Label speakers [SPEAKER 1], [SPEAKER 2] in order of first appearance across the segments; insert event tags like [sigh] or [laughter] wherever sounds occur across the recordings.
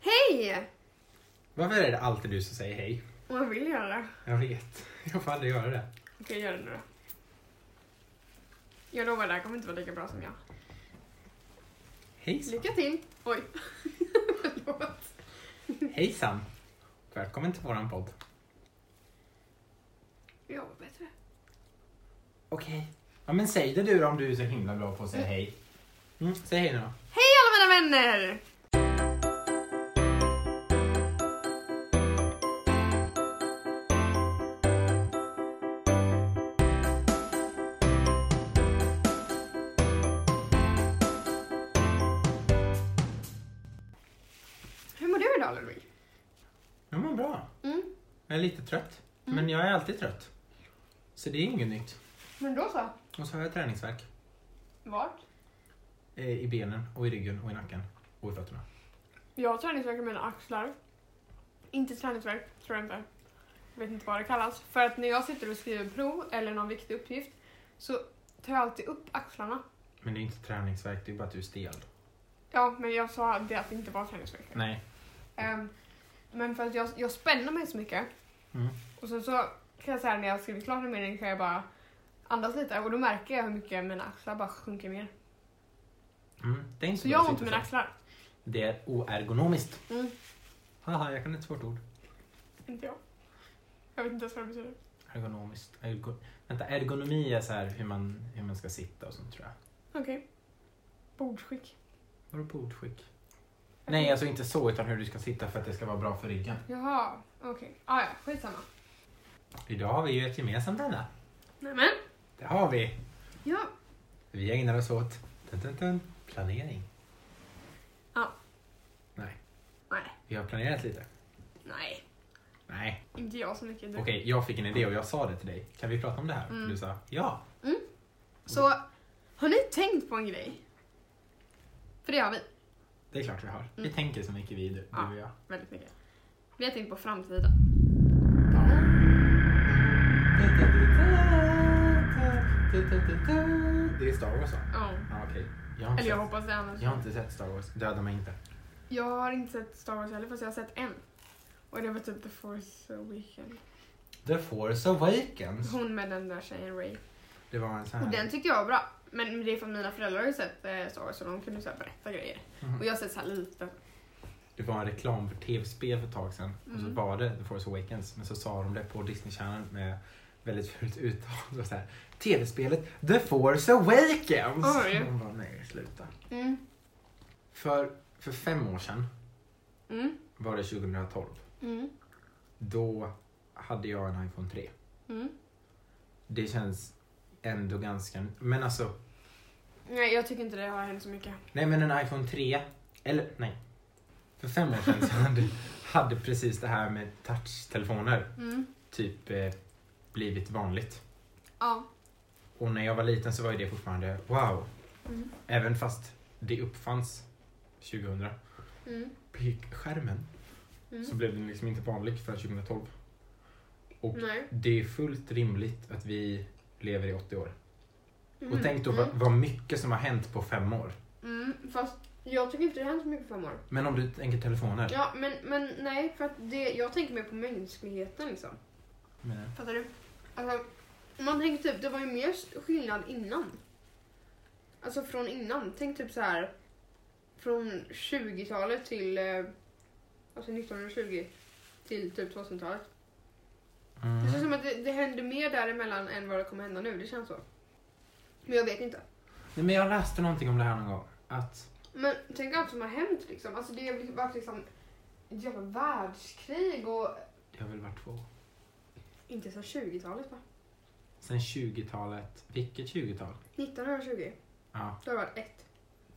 [SPEAKER 1] Hej!
[SPEAKER 2] Varför är det alltid du som säger hej?
[SPEAKER 1] Vad vill jag göra?
[SPEAKER 2] Jag vet. Jag får aldrig göra det.
[SPEAKER 1] Okej, gör det nu då. Jag lovar, det här kommer inte vara lika bra som jag.
[SPEAKER 2] Hejsan.
[SPEAKER 1] Lycka till! Oj. [laughs] Förlåt.
[SPEAKER 2] Hejsan. Välkommen till våran podd.
[SPEAKER 1] Jag var bättre.
[SPEAKER 2] Okej. Ja men säg det du då om du är så himla bra på att säga hej. Mm, säg hej nu då.
[SPEAKER 1] Hej alla mina vänner! Hur mår du idag Ludvig?
[SPEAKER 2] Jag mår bra.
[SPEAKER 1] Mm.
[SPEAKER 2] Jag är lite trött.
[SPEAKER 1] Mm.
[SPEAKER 2] Men jag är alltid trött. Så det är inget nytt.
[SPEAKER 1] Men då så.
[SPEAKER 2] Och så har jag träningsvärk.
[SPEAKER 1] Vart?
[SPEAKER 2] Eh, I benen och i ryggen och i nacken. Och i fötterna.
[SPEAKER 1] Jag har träningsvärk i mina axlar. Inte träningsvärk, tror jag inte. Jag vet inte vad det kallas. För att när jag sitter och skriver prov eller någon viktig uppgift så tar jag alltid upp axlarna.
[SPEAKER 2] Men det är inte träningsvärk, det är bara att du är stel.
[SPEAKER 1] Ja, men jag sa det att det inte var träningsvärk.
[SPEAKER 2] Nej.
[SPEAKER 1] Ehm, men för att jag, jag spänner mig så mycket.
[SPEAKER 2] Mm.
[SPEAKER 1] Och sen så kan jag säga när jag skriver klart en mening kan jag bara andas lite och då märker jag hur mycket mina axlar bara sjunker mer.
[SPEAKER 2] Mm. Det är inte
[SPEAKER 1] Så
[SPEAKER 2] bra
[SPEAKER 1] jag
[SPEAKER 2] att
[SPEAKER 1] har ont i
[SPEAKER 2] sitta
[SPEAKER 1] mina
[SPEAKER 2] så.
[SPEAKER 1] axlar.
[SPEAKER 2] Det är oergonomiskt.
[SPEAKER 1] Mm,
[SPEAKER 2] Haha, jag kan ett svårt ord.
[SPEAKER 1] inte jag. Jag vet inte ens vad det betyder.
[SPEAKER 2] Ergonomiskt. Ergo... Vänta, ergonomi är så här hur man, hur man ska sitta och sånt tror jag.
[SPEAKER 1] Okej. Bordsskick.
[SPEAKER 2] Var det bordskick? Nej, alltså inte så utan hur du ska sitta för att det ska vara bra för ryggen.
[SPEAKER 1] Jaha, okej. Ah, ja, skitsamma.
[SPEAKER 2] Idag har vi ju ett gemensamt ämne.
[SPEAKER 1] Nämen.
[SPEAKER 2] Det har vi.
[SPEAKER 1] Ja.
[SPEAKER 2] Vi ägnar oss åt dun, dun, dun, planering.
[SPEAKER 1] Ja.
[SPEAKER 2] Nej,
[SPEAKER 1] Nej.
[SPEAKER 2] vi har planerat lite.
[SPEAKER 1] Nej.
[SPEAKER 2] Nej,
[SPEAKER 1] Inte jag så mycket. Du.
[SPEAKER 2] okej, jag fick en idé och jag sa det till dig. Kan vi prata om det här?
[SPEAKER 1] Mm.
[SPEAKER 2] Du sa ja.
[SPEAKER 1] Så har ni tänkt på en grej? För det har vi.
[SPEAKER 2] Det är klart vi har. Vi
[SPEAKER 1] Mm.
[SPEAKER 2] tänker så mycket vi, du,
[SPEAKER 1] Ja.
[SPEAKER 2] du och jag.
[SPEAKER 1] Väldigt mycket. Vi har tänkt på framtiden.
[SPEAKER 2] Det är Star Wars va?
[SPEAKER 1] Ja.
[SPEAKER 2] Ja, okej. Jag har inte
[SPEAKER 1] Eller jag
[SPEAKER 2] sett-
[SPEAKER 1] hoppas det annars.
[SPEAKER 2] Jag har inte sett Star Wars. Döda mig inte.
[SPEAKER 1] Jag har inte sett Star Wars heller fast jag har sett en. Och det var typ The Force Weekend.
[SPEAKER 2] The Force Awakens.
[SPEAKER 1] Hon med den där tjejen Ray.
[SPEAKER 2] Det var en sån
[SPEAKER 1] Och
[SPEAKER 2] här...
[SPEAKER 1] den tyckte jag var bra. Men det är för att mina föräldrar har ju sett eh, Star Wars så de kunde så här berätta grejer.
[SPEAKER 2] Mhm.
[SPEAKER 1] Och jag har sett så här lite.
[SPEAKER 2] Det var en reklam för tv-spel för ett tag sedan. Och så
[SPEAKER 1] Mm.
[SPEAKER 2] var det The Force Awakens. Men så sa de det på Disney Channel med väldigt fult uttal. Det var så här, tv-spelet The Force Awakens.
[SPEAKER 1] Oj.
[SPEAKER 2] Och Man bara, nej sluta.
[SPEAKER 1] Mm.
[SPEAKER 2] För, för fem år sedan
[SPEAKER 1] Mm.
[SPEAKER 2] var det 2012.
[SPEAKER 1] Mm.
[SPEAKER 2] Då hade jag en iPhone 3.
[SPEAKER 1] Mm.
[SPEAKER 2] Det känns ändå ganska... Men alltså,
[SPEAKER 1] Nej jag tycker inte det har hänt så mycket.
[SPEAKER 2] nej men en iPhone 3, eller nej. För fem år sedan så hade, hade precis det här med touchtelefoner
[SPEAKER 1] Mm.
[SPEAKER 2] typ eh, blivit vanligt.
[SPEAKER 1] Ja.
[SPEAKER 2] Och när jag var liten så var ju det fortfarande wow.
[SPEAKER 1] Mm.
[SPEAKER 2] Även fast det uppfanns 2000
[SPEAKER 1] Mm.
[SPEAKER 2] på skärmen
[SPEAKER 1] Mm.
[SPEAKER 2] så blev den liksom inte vanlig förrän 2012. Och
[SPEAKER 1] Nej.
[SPEAKER 2] det är fullt rimligt att vi lever i 80 år.
[SPEAKER 1] Mm.
[SPEAKER 2] Och tänk då vad, vad mycket som har hänt på fem år.
[SPEAKER 1] Mm. Mm. Fast jag tycker inte det har hänt så mycket på fem år.
[SPEAKER 2] Men om du tänker telefoner.
[SPEAKER 1] Ja men, men nej för att det, jag tänker mer på mänskligheten liksom.
[SPEAKER 2] Men,
[SPEAKER 1] Fattar du? Alltså, om man tänker typ, det var ju mer skillnad innan. Alltså från innan. Tänk typ så här från 20-talet till eh, alltså 1920 till typ 2000-talet. Det känns
[SPEAKER 2] mm.
[SPEAKER 1] som att det, det händer mer däremellan än vad det kommer hända nu. Det känns så. Men jag vet inte.
[SPEAKER 2] Nej, men jag läste någonting om det här någon gång. Att,
[SPEAKER 1] Men tänk allt som har hänt liksom. Alltså det har varit liksom ett jävla världskrig och
[SPEAKER 2] det har väl varit två.
[SPEAKER 1] inte sedan 20-talet va?
[SPEAKER 2] Sen 20-talet. Vilket 20-tal?
[SPEAKER 1] 1920.
[SPEAKER 2] Ja,
[SPEAKER 1] Då har det varit ett.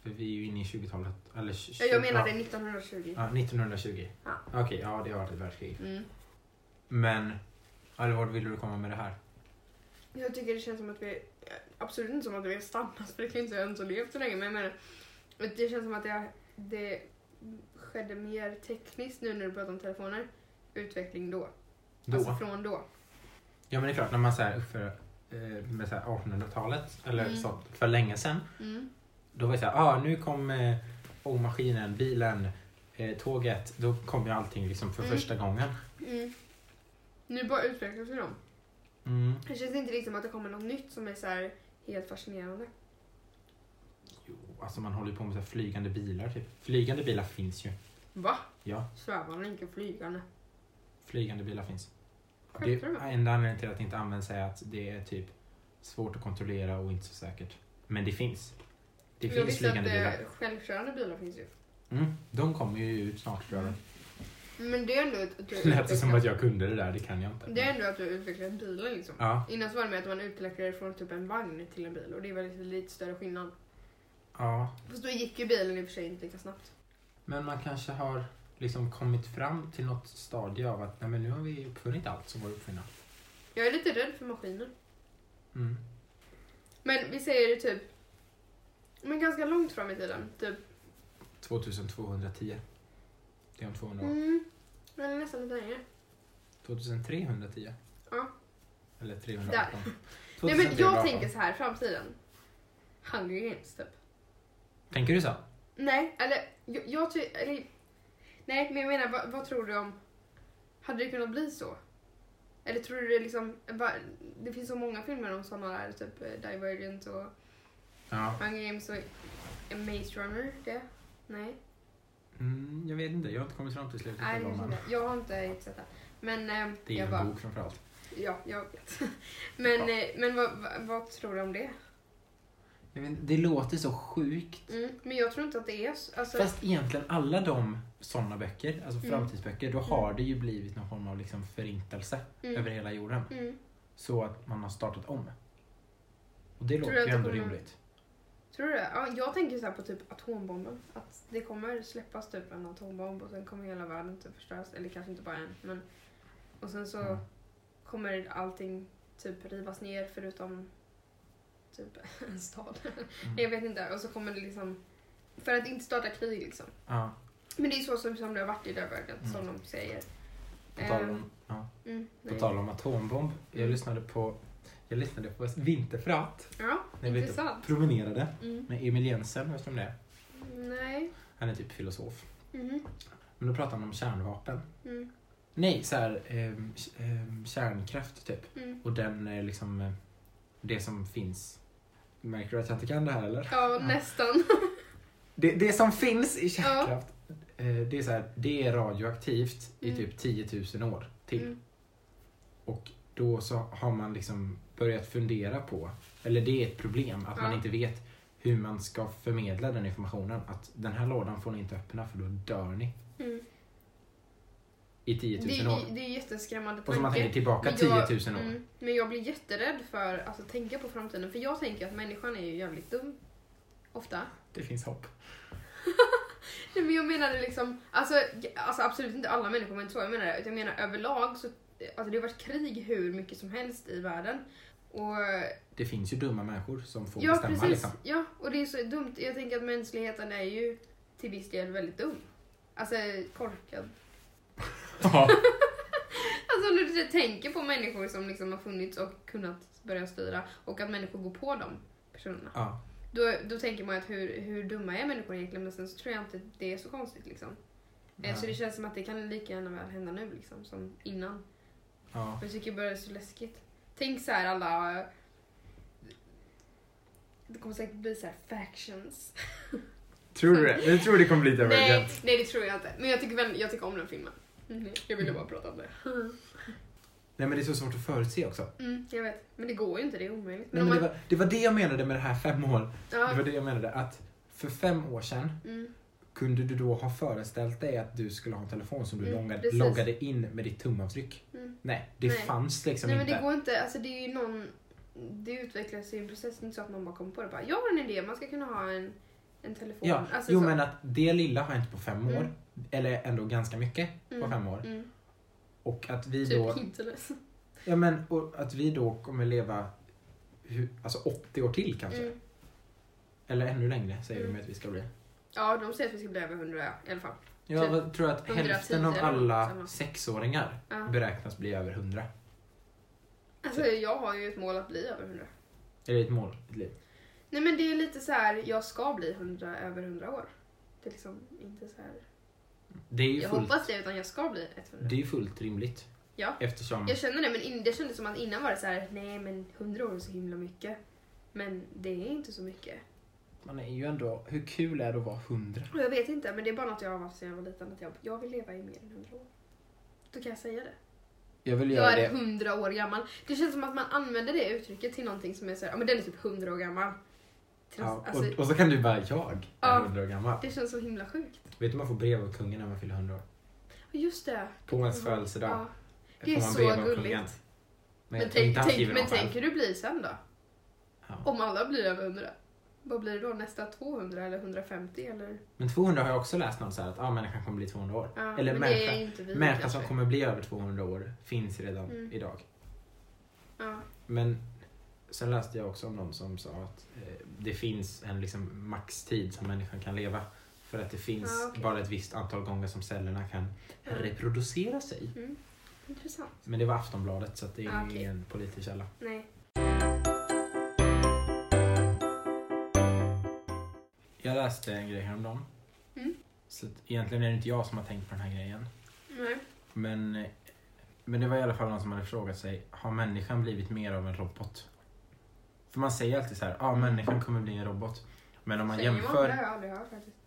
[SPEAKER 2] för vi är ju inne i 20-talet. Eller
[SPEAKER 1] Ja, Jag
[SPEAKER 2] 20
[SPEAKER 1] menade 1920.
[SPEAKER 2] Ja, 1920.
[SPEAKER 1] Ja.
[SPEAKER 2] Okej, ja det har varit ett världskrig.
[SPEAKER 1] Mm.
[SPEAKER 2] Men, eller vart ville du komma med det här?
[SPEAKER 1] Jag tycker det känns som att vi, absolut inte som att vi har stannat för det kan ju inte ens ha levt så länge men jag menar, att det känns som att det, det skedde mer tekniskt nu när du pratar om telefoner. Utveckling då.
[SPEAKER 2] Då?
[SPEAKER 1] Alltså från då.
[SPEAKER 2] Ja men det är klart, när man så här uppför eh, med så här 1800-talet, eller
[SPEAKER 1] Mm.
[SPEAKER 2] så, för länge sedan.
[SPEAKER 1] Mm.
[SPEAKER 2] Då var det så här, ah, nu kom eh, ångmaskinen, bilen, eh, tåget, då kom ju allting liksom för
[SPEAKER 1] Mm.
[SPEAKER 2] första gången.
[SPEAKER 1] Mm. Nu bara utvecklas ju de.
[SPEAKER 2] Mm.
[SPEAKER 1] Det känns inte liksom att det kommer något nytt som är så här helt fascinerande.
[SPEAKER 2] Jo, alltså man håller ju på med så här flygande bilar typ. Flygande bilar finns ju.
[SPEAKER 1] Va?
[SPEAKER 2] Ja,
[SPEAKER 1] Svävarna, inte flygande.
[SPEAKER 2] flygande bilar finns. Det,
[SPEAKER 1] Skämtar du med?
[SPEAKER 2] enda anledningen till att det inte används är att det är typ svårt att kontrollera och inte så säkert. Men det finns. Det
[SPEAKER 1] jag
[SPEAKER 2] finns
[SPEAKER 1] visste att
[SPEAKER 2] flygande
[SPEAKER 1] eh,
[SPEAKER 2] bilar.
[SPEAKER 1] självkörande bilar finns ju.
[SPEAKER 2] Mm, de kommer ju ut snart tror
[SPEAKER 1] Mm.
[SPEAKER 2] jag.
[SPEAKER 1] Men det är ändå att du
[SPEAKER 2] Det lät som
[SPEAKER 1] utvecklar-
[SPEAKER 2] att jag kunde det där, det kan jag inte.
[SPEAKER 1] Det är ändå att du utvecklar bilen liksom.
[SPEAKER 2] Ja,
[SPEAKER 1] Innan så var det med att man utvecklade det från typ en vagn till en bil och det är väldigt lite större skillnad.
[SPEAKER 2] ja.
[SPEAKER 1] Fast då gick ju bilen i och för sig inte lika snabbt.
[SPEAKER 2] Men man kanske har liksom kommit fram till något stadie av att nej, men nu har vi uppfunnit allt som går att uppfinna.
[SPEAKER 1] Jag är lite rädd för maskiner.
[SPEAKER 2] Mm.
[SPEAKER 1] Men vi säger det typ, men ganska långt fram i tiden. Typ,
[SPEAKER 2] 2210. Det är om 200 år.
[SPEAKER 1] mm, eller nästan lite längre.
[SPEAKER 2] 2310.
[SPEAKER 1] Ja.
[SPEAKER 2] Eller 318.
[SPEAKER 1] Nej men jag
[SPEAKER 2] 2318.
[SPEAKER 1] tänker så här, framtiden. Hunger Games typ.
[SPEAKER 2] Tänker du så?
[SPEAKER 1] Nej, eller jag, jag ty- eller, Nej, men jag menar vad, vad tror du om... Hade det kunnat bli så? Eller tror du det liksom... Va, det finns så många filmer om sådana där, typ eh, Divergent och
[SPEAKER 2] Ja.
[SPEAKER 1] Hunger Games och Maze Runner. Det? Nej?
[SPEAKER 2] Mm, jag vet inte, jag har inte kommit fram till slutet.
[SPEAKER 1] Nej,
[SPEAKER 2] av
[SPEAKER 1] det
[SPEAKER 2] dem
[SPEAKER 1] kanske
[SPEAKER 2] än.
[SPEAKER 1] inte. Jag har inte riktigt sett det. Men... Eh,
[SPEAKER 2] det är
[SPEAKER 1] jag
[SPEAKER 2] ju
[SPEAKER 1] bara,
[SPEAKER 2] en bok framförallt.
[SPEAKER 1] Ja, jag vet. [laughs] men
[SPEAKER 2] Ja.
[SPEAKER 1] eh, men vad, vad, vad tror du om det?
[SPEAKER 2] Jag vet, inte, det låter så sjukt.
[SPEAKER 1] Mm, men jag tror inte att det är så. Alltså,
[SPEAKER 2] Fast egentligen alla de sådana böcker, alltså
[SPEAKER 1] Mm.
[SPEAKER 2] framtidsböcker, då har
[SPEAKER 1] Mm.
[SPEAKER 2] det ju blivit någon form av liksom förintelse
[SPEAKER 1] mm,
[SPEAKER 2] över hela jorden.
[SPEAKER 1] mm.
[SPEAKER 2] Så att man har startat om. Och det
[SPEAKER 1] Tror
[SPEAKER 2] låter
[SPEAKER 1] du
[SPEAKER 2] ju
[SPEAKER 1] att det
[SPEAKER 2] ändå
[SPEAKER 1] kommer-
[SPEAKER 2] rimligt.
[SPEAKER 1] Tror du det? Ja, jag tänker så här på typ atombomben. Att det kommer släppas typ en atombomb och sen kommer hela världen typ förstöras. Eller kanske inte bara en. Men... Och sen så
[SPEAKER 2] Mm.
[SPEAKER 1] kommer allting typ rivas ner förutom typ [laughs] en stad.
[SPEAKER 2] Mm.
[SPEAKER 1] Jag vet inte. Och så kommer det liksom... För att inte starta krig liksom.
[SPEAKER 2] Ja,
[SPEAKER 1] Men det är så som, som det har varit i Dövögat som de säger.
[SPEAKER 2] Mm. på tal om, ja,
[SPEAKER 1] Mm,
[SPEAKER 2] på
[SPEAKER 1] nej.
[SPEAKER 2] tal om atombomb. Jag
[SPEAKER 1] Mm.
[SPEAKER 2] lyssnade på, jag lyssnade på Vinterfrat.
[SPEAKER 1] Ja,
[SPEAKER 2] När vi
[SPEAKER 1] intressant.
[SPEAKER 2] promenerade
[SPEAKER 1] Mm.
[SPEAKER 2] med Emil Jensen, vet du om det är?
[SPEAKER 1] Nej.
[SPEAKER 2] Han är typ filosof.
[SPEAKER 1] Mhm.
[SPEAKER 2] Men då pratade han om kärnvapen.
[SPEAKER 1] Mm.
[SPEAKER 2] [laughs] Nej, så här, ehm, k- ehm, kärnkraft typ.
[SPEAKER 1] Mm.
[SPEAKER 2] Och den är liksom, eh, det som finns. Märker du att jag inte kan det här eller?
[SPEAKER 1] Ja, nästan.
[SPEAKER 2] Det, det som finns i kärnkraft, eh, det är så här, det är radioaktivt i
[SPEAKER 1] Mm.
[SPEAKER 2] typ 10 000 år till.
[SPEAKER 1] Mm.
[SPEAKER 2] Och då så har man liksom börjat fundera på, eller det är ett problem, att man
[SPEAKER 1] Ja.
[SPEAKER 2] inte vet hur man ska förmedla den informationen. Att den här lådan får ni inte öppna för då dör ni
[SPEAKER 1] Mm.
[SPEAKER 2] i 10 000
[SPEAKER 1] Det
[SPEAKER 2] år.
[SPEAKER 1] är, det är jätteskrämmande
[SPEAKER 2] Och så man tänker tillbaka
[SPEAKER 1] Men jag-
[SPEAKER 2] 10 000 år.
[SPEAKER 1] Mm, men jag blir jätterädd för att alltså, tänka på framtiden. För jag tänker att människan är ju jävligt dum. Ofta. [laughs]
[SPEAKER 2] Det finns hopp.
[SPEAKER 1] Nej, men jag menade liksom, alltså, j- alltså absolut inte alla människor men inte så jag menar. Utan jag menar överlag så, alltså det har varit krig hur mycket som helst i världen. Och,
[SPEAKER 2] Det finns ju dumma människor som får
[SPEAKER 1] ja
[SPEAKER 2] bestämma
[SPEAKER 1] precis,
[SPEAKER 2] liksom.
[SPEAKER 1] ja och det är så dumt. Jag tänker att mänskligheten är ju till viss del väldigt dum. Alltså korkad.
[SPEAKER 2] [laughs] Ja.
[SPEAKER 1] Alltså när du tänker på människor som liksom har funnits och kunnat börja styra och att människor går på de personerna.
[SPEAKER 2] ja.
[SPEAKER 1] Då, då tänker man att hur, hur dumma är människor egentligen men sen så tror jag inte att det är så konstigt liksom. Eh, Så det känns som att det kan lika gärna väl hända nu liksom som innan.
[SPEAKER 2] ja.
[SPEAKER 1] Jag tycker bara det är så läskigt. Tänk så här alla... Det kommer säkert bli så här factions.
[SPEAKER 2] Tror du det? Du tror det kommer bli
[SPEAKER 1] Nej, nej det tror jag inte. Men jag tycker, väl, jag tycker om den filmen. Mhm, Jag ville bara prata om det.
[SPEAKER 2] Nej men det är så svårt att förutse också.
[SPEAKER 1] Mm, jag vet. Men det går ju inte, det är omöjligt.
[SPEAKER 2] Nej,
[SPEAKER 1] om
[SPEAKER 2] men det,
[SPEAKER 1] man-
[SPEAKER 2] var, det var det jag menade med det här fem år. Det var
[SPEAKER 1] ja,
[SPEAKER 2] det jag menade. Att för fem år sedan
[SPEAKER 1] mm.
[SPEAKER 2] kunde du då ha föreställt dig att du skulle ha en telefon som du
[SPEAKER 1] Mm,
[SPEAKER 2] loggade,
[SPEAKER 1] precis.
[SPEAKER 2] loggade in med ditt tumavtryck?
[SPEAKER 1] Mm.
[SPEAKER 2] Nej, det
[SPEAKER 1] Nej.
[SPEAKER 2] fanns liksom
[SPEAKER 1] Nej men
[SPEAKER 2] inte.
[SPEAKER 1] det går inte, alltså det är ju någon, det utvecklas ju en process, det är inte så att någon bara kommer på det bara jag har en idé, man ska kunna ha en, en telefon.
[SPEAKER 2] Ja,
[SPEAKER 1] alltså,
[SPEAKER 2] jo
[SPEAKER 1] så.
[SPEAKER 2] men att det lilla har hänt på fem
[SPEAKER 1] Mm.
[SPEAKER 2] år. Eller ändå ganska mycket
[SPEAKER 1] Mm.
[SPEAKER 2] på fem år.
[SPEAKER 1] Mm.
[SPEAKER 2] Och att vi
[SPEAKER 1] Typ
[SPEAKER 2] då,
[SPEAKER 1] Hinterless.
[SPEAKER 2] ja, men, och att vi då kommer leva hur, alltså 80 år till kanske.
[SPEAKER 1] Mm.
[SPEAKER 2] Eller ännu längre säger
[SPEAKER 1] Mm.
[SPEAKER 2] de att vi ska bli.
[SPEAKER 1] Ja, de säger att vi ska bli över 100 i alla fall.
[SPEAKER 2] Jag
[SPEAKER 1] Typ
[SPEAKER 2] vad- tror att
[SPEAKER 1] 110
[SPEAKER 2] hälften av
[SPEAKER 1] eller något
[SPEAKER 2] alla
[SPEAKER 1] sånt.
[SPEAKER 2] sexåringar
[SPEAKER 1] Ja.
[SPEAKER 2] beräknas bli över 100.
[SPEAKER 1] Alltså jag har ju ett mål att bli över 100.
[SPEAKER 2] Är det ett mål? Ett liv?
[SPEAKER 1] Nej men det är lite så här, jag ska bli 100 över 100 år. Det är liksom inte så här
[SPEAKER 2] Det är ju
[SPEAKER 1] Jag
[SPEAKER 2] fullt,
[SPEAKER 1] hoppas det, utan jag ska bli 100.
[SPEAKER 2] det är ju fullt rimligt.
[SPEAKER 1] Ja.
[SPEAKER 2] Eftersom...
[SPEAKER 1] Jag känner det, men in, det kändes som att innan var det så här, nej men 100 år är så himla mycket. Men det är inte så mycket.
[SPEAKER 2] Man är ju ändå... Hur kul är det att vara hundra?
[SPEAKER 1] Och jag vet inte, men det är bara något jag har haft sedan jag var liten. Att jag, jag vill leva i mer än 100 år. Då kan jag säga det.
[SPEAKER 2] Jag vill göra
[SPEAKER 1] Jag är
[SPEAKER 2] det.
[SPEAKER 1] 100 år gammal. Det känns som att man använder det uttrycket till någonting som är så här, ja men den är typ 100 år gammal. Till
[SPEAKER 2] Ja,
[SPEAKER 1] något- alltså,
[SPEAKER 2] och, och så kan du bara, jag är
[SPEAKER 1] Ja.
[SPEAKER 2] hundra år gammal.
[SPEAKER 1] det känns så himla sjukt.
[SPEAKER 2] Vet du man får brev av kungen när man fyller hundra år?
[SPEAKER 1] Ja, Just det.
[SPEAKER 2] På ens
[SPEAKER 1] Mhm.
[SPEAKER 2] födelsedag.
[SPEAKER 1] Ja.
[SPEAKER 2] får
[SPEAKER 1] det är
[SPEAKER 2] man
[SPEAKER 1] så
[SPEAKER 2] brev av
[SPEAKER 1] gulligt.
[SPEAKER 2] kungen. Men,
[SPEAKER 1] Men,
[SPEAKER 2] tänk,
[SPEAKER 1] tänk,
[SPEAKER 2] inte han
[SPEAKER 1] tänk,
[SPEAKER 2] skriver
[SPEAKER 1] men
[SPEAKER 2] något
[SPEAKER 1] tänk
[SPEAKER 2] själv.
[SPEAKER 1] hur du blir sen då?
[SPEAKER 2] Ja.
[SPEAKER 1] Om alla blir över 100. Vad blir det då? Nästa 200 eller 150 eller?
[SPEAKER 2] Men 200 har jag också läst något så här att ah, människan kommer bli 200 år.
[SPEAKER 1] Ja,
[SPEAKER 2] Eller
[SPEAKER 1] men det
[SPEAKER 2] människa.
[SPEAKER 1] är inte vi
[SPEAKER 2] Människan
[SPEAKER 1] Mm, kanske.
[SPEAKER 2] som kommer bli över 200 år finns redan
[SPEAKER 1] Mm.
[SPEAKER 2] idag.
[SPEAKER 1] Ja.
[SPEAKER 2] Men sen läste jag också om någon som sa att eh, det finns en liksom, maxtid som människan kan leva. För att det finns
[SPEAKER 1] Ja, Ah, okej.
[SPEAKER 2] bara ett visst antal gånger som cellerna kan reproducera sig.
[SPEAKER 1] Mm. Intressant.
[SPEAKER 2] Men det var Aftonbladet så att det är
[SPEAKER 1] Ja, Ah, okej.
[SPEAKER 2] en pålitlig källa.
[SPEAKER 1] Nej.
[SPEAKER 2] Jag läste en grej häromdagen.
[SPEAKER 1] Mm.
[SPEAKER 2] Så att egentligen är det inte jag som har tänkt på den här grejen.
[SPEAKER 1] Nej.
[SPEAKER 2] Men, eh, men det var i alla fall någon som hade frågat sig, har människan blivit mer av en robot? För man säger alltid så här, ja ah, människan kommer bli en robot. Men om man
[SPEAKER 1] Säger
[SPEAKER 2] jämför...
[SPEAKER 1] Det har jag aldrig hört faktiskt.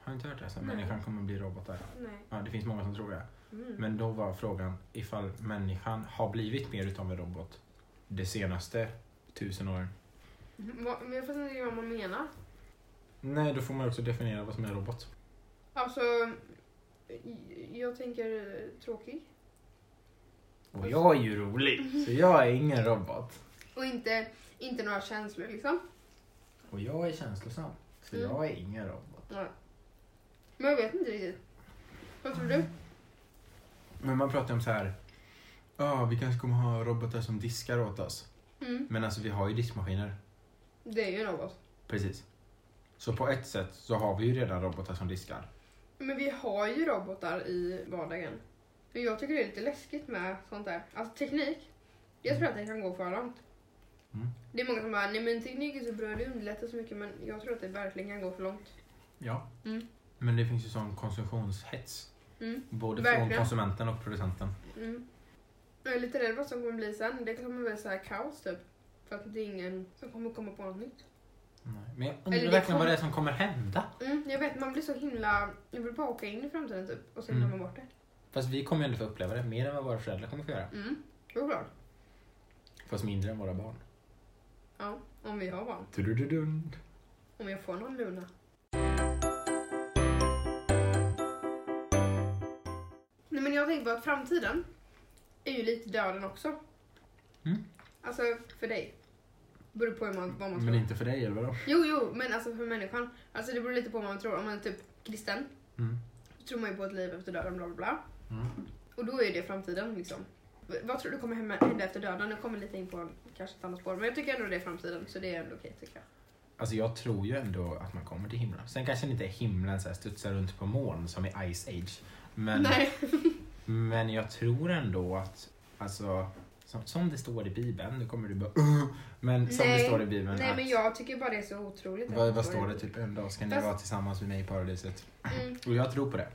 [SPEAKER 2] Har du inte hört det? Så här,
[SPEAKER 1] Nej.
[SPEAKER 2] människan kommer bli robotar.
[SPEAKER 1] Nej.
[SPEAKER 2] Ja, det finns många som tror det.
[SPEAKER 1] Mm.
[SPEAKER 2] Men då var frågan ifall människan har blivit mer utav en robot de senaste tusen åren.
[SPEAKER 1] Va- Men jag fattar inte vad man menar.
[SPEAKER 2] Nej, då får man också definiera vad som är en robot.
[SPEAKER 1] Alltså, j- jag tänker eh, tråkig.
[SPEAKER 2] Och jag är ju rolig, så jag är ingen robot.
[SPEAKER 1] Och inte, inte några känslor liksom.
[SPEAKER 2] Och jag är känslosam, så
[SPEAKER 1] Mm.
[SPEAKER 2] jag är ingen robot.
[SPEAKER 1] Nej. Men jag vet inte riktigt. Vad tror du?
[SPEAKER 2] Men man pratar om så här, ja vi kanske kommer ha robotar som diskar åt oss.
[SPEAKER 1] Mm.
[SPEAKER 2] Men alltså vi har ju diskmaskiner.
[SPEAKER 1] Det är ju något.
[SPEAKER 2] Precis. Så på ett sätt så har vi ju redan robotar som diskar.
[SPEAKER 1] Men vi har ju robotar i vardagen. Men jag tycker det är lite läskigt med sånt där. Alltså teknik. Jag tror att det kan gå för långt.
[SPEAKER 2] Mm.
[SPEAKER 1] Det är många som bara, nej men teknik är så bra, det underlättar så mycket. Men jag tror att det verkligen kan gå för långt.
[SPEAKER 2] Ja.
[SPEAKER 1] Mm.
[SPEAKER 2] Men det finns ju sån konsumtionshets.
[SPEAKER 1] Mm.
[SPEAKER 2] Både från
[SPEAKER 1] Verkligen.
[SPEAKER 2] konsumenten och producenten.
[SPEAKER 1] Mm. Jag är lite rädd vad som kommer bli sen. Det kommer bli så här kaos typ. För att det är ingen som kommer komma på något nytt.
[SPEAKER 2] Nej. Men jag
[SPEAKER 1] Eller
[SPEAKER 2] undrar
[SPEAKER 1] det
[SPEAKER 2] verkligen vad
[SPEAKER 1] kom-
[SPEAKER 2] det är som kommer hända.
[SPEAKER 1] Mm, jag vet, man blir så himla... Jag vill bara åka in i framtiden typ. Och sen
[SPEAKER 2] Mm.
[SPEAKER 1] glömmer man bort det.
[SPEAKER 2] Fast vi kommer ju ändå få uppleva det mer än vad våra föräldrar kommer få göra.
[SPEAKER 1] Mm. Jo, klart.
[SPEAKER 2] Fast mindre än våra barn.
[SPEAKER 1] Ja, om vi har barn.
[SPEAKER 2] Tudududund.
[SPEAKER 1] Om jag får någon Luna. Nej men jag tänker på att framtiden är ju lite döden också.
[SPEAKER 2] Mm.
[SPEAKER 1] Alltså för dig. Beror på hur man, vad man
[SPEAKER 2] Men
[SPEAKER 1] tror.
[SPEAKER 2] inte för dig eller vadå?
[SPEAKER 1] Jo, jo, men alltså för människan. Alltså det beror lite på vad man tror. Om man är typ kristen,
[SPEAKER 2] Mm.
[SPEAKER 1] så tror man ju på ett liv efter döden, bla bla bla.
[SPEAKER 2] Mm.
[SPEAKER 1] Och då är det framtiden liksom. V- Vad tror du kommer hemma- hända efter döden? Nu kommer lite in på kanske ett annat spår, men jag tycker ändå det är framtiden, så det är ändå okej tycker jag.
[SPEAKER 2] Alltså jag tror ju ändå att man kommer till himlen. Sen kanske inte himlen så här studsar runt på moln som i Ice Age. Men,
[SPEAKER 1] Nej.
[SPEAKER 2] men jag tror ändå att, alltså, som, som det står i Bibeln, nu kommer du bara "Ugh", Men som det
[SPEAKER 1] Nej,
[SPEAKER 2] står i Bibeln
[SPEAKER 1] Nej
[SPEAKER 2] att,
[SPEAKER 1] men jag tycker bara det är så otroligt. att
[SPEAKER 2] vad,
[SPEAKER 1] man
[SPEAKER 2] vad
[SPEAKER 1] får-
[SPEAKER 2] står det? Typ en dag ska ni
[SPEAKER 1] Fast-
[SPEAKER 2] vara tillsammans med mig i paradiset.
[SPEAKER 1] Mm.
[SPEAKER 2] Och jag tror på det.